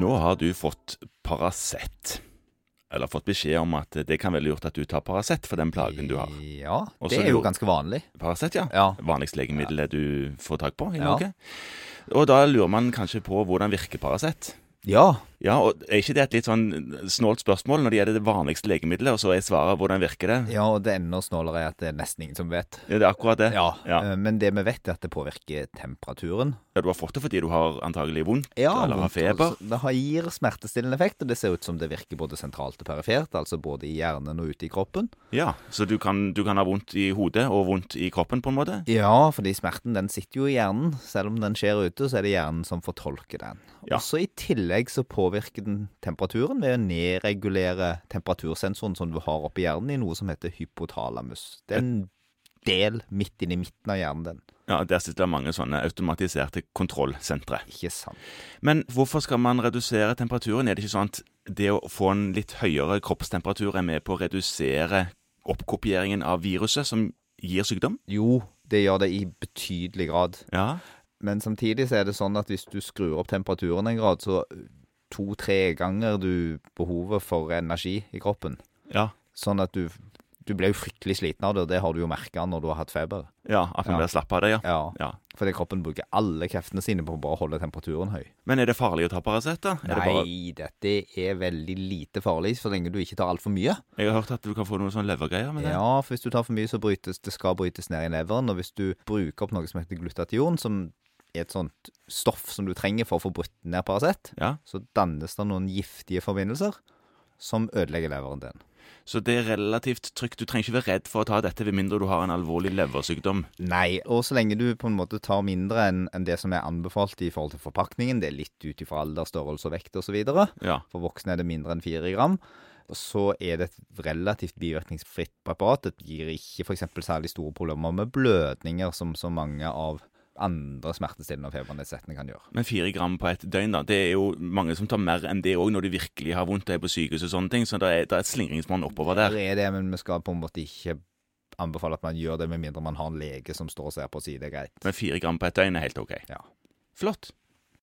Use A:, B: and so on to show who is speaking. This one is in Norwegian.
A: Nå har du fått Paracet. Eller fått beskjed om at det kan være lurt at du tar Paracet for den plagen du har.
B: Ja,
A: Og
B: det
A: så
B: er jo
A: lurer-
B: ganske vanlig.
A: Paracet, ja.
B: Ja.
A: Vanligst legemiddel du får tak på i
B: Ja.
A: Norge. Og da lurer man kanskje på hvordan virker Paracet.
B: Ja,
A: Ja, og Er ikke det et litt sånn snålt spørsmål når det gjelder det vanligste legemiddelet, og så er svaret 'hvordan virker det'?
B: ja og det enda snålere er at det er nesten ingen som vet.
A: Ja, det er akkurat det.
B: Ja,
A: Ja.
B: eh, Men det vi vet, er at det påvirker temperaturen.
A: Ja, Du har fått det fordi du har antagelig vondt eller har
B: vondt,
A: feber.
B: altså. Det har- gir smertestillende effekt, og det ser ut som det virker både sentralt og perifert, altså både i hjernen og ute i kroppen.
A: Ja, Så du kan, du kan ha vondt i hodet og vondt i kroppen, på en måte?
B: Ja, fordi smerten den sitter jo i hjernen. Selv om den skjer ute, så er det hjernen som fortolker den.
A: Ja.
B: Også i tillegg så påvirker den temperaturen ved å nedregulere temperatursensoren som du har oppi hjernen, i noe som heter hypotalamus. Det er en del midt inni midten av hjernen din.
A: Ja, Der sitter det mange sånne automatiserte kontrollsentre.
B: Ikke sant?
A: Men hvorfor skal man redusere temperaturen? Er det ikke sånn at det å få en litt høyere kroppstemperatur er med på å redusere oppkopieringen av viruset som gir sykdom?
B: Jo, det gjør det i betydelig grad.
A: Ja.
B: Men samtidig så er det sånn at hvis du skrur opp temperaturen en grad, så to-tre ganger du behovet for energi i kroppen.
A: Ja,
B: Sånn at du, du ble jo fryktelig sliten av det, og det har du jo merka når du har hatt feber.
A: ja at man
B: Ja.
A: blir slapp av det, ja.
B: Ja,
A: ja.
B: Fordi kroppen bruker alle kreftene sine på å bare holde temperaturen høy.
A: Men er det farlig å ta Paracet, da? Er det bare-
B: Nei, dette er veldig lite farlig så lenge du ikke tar altfor mye.
A: Jeg har hørt at du kan få noen sånne levergreier med det.
B: Ja, for hvis du tar for mye, så brytes det skal brytes ned i leveren. Og hvis du bruker opp noe som heter glutation, som er et sånt stoff som du trenger for å få brutt ned Paracet,
A: Ja.
B: så dannes det noen giftige forbindelser som ødelegger leveren din.
A: Så det er relativt trygt. Du trenger ikke være redd for å ta dette med mindre du har en alvorlig leversykdom.
B: Nei, og så lenge du på en måte tar mindre enn enn det som er anbefalt i forhold til forpakningen, det er litt ut ifra alder, størrelse og vekt osv.,
A: Ja.
B: for voksne er det mindre enn 4 gram, så er det et relativt bivirkningsfritt preparat. Det gir ikke f.eks. særlig store problemer med blødninger, som så mange av andre smertestillende og febernedsettende kan gjøre.
A: Men fire gram på et døgn, da. Det er jo mange som tar mer enn det òg når de virkelig har vondt og er på sykehus og sånne ting, så det er, det er et slingringsmonn oppover der.
B: Det er det, men vi skal på en måte ikke anbefale at man gjør det, med mindre man har en lege som står og ser på og sier det er greit.
A: Men fire gram på et døgn er helt ok.
B: Ja.
A: Flott.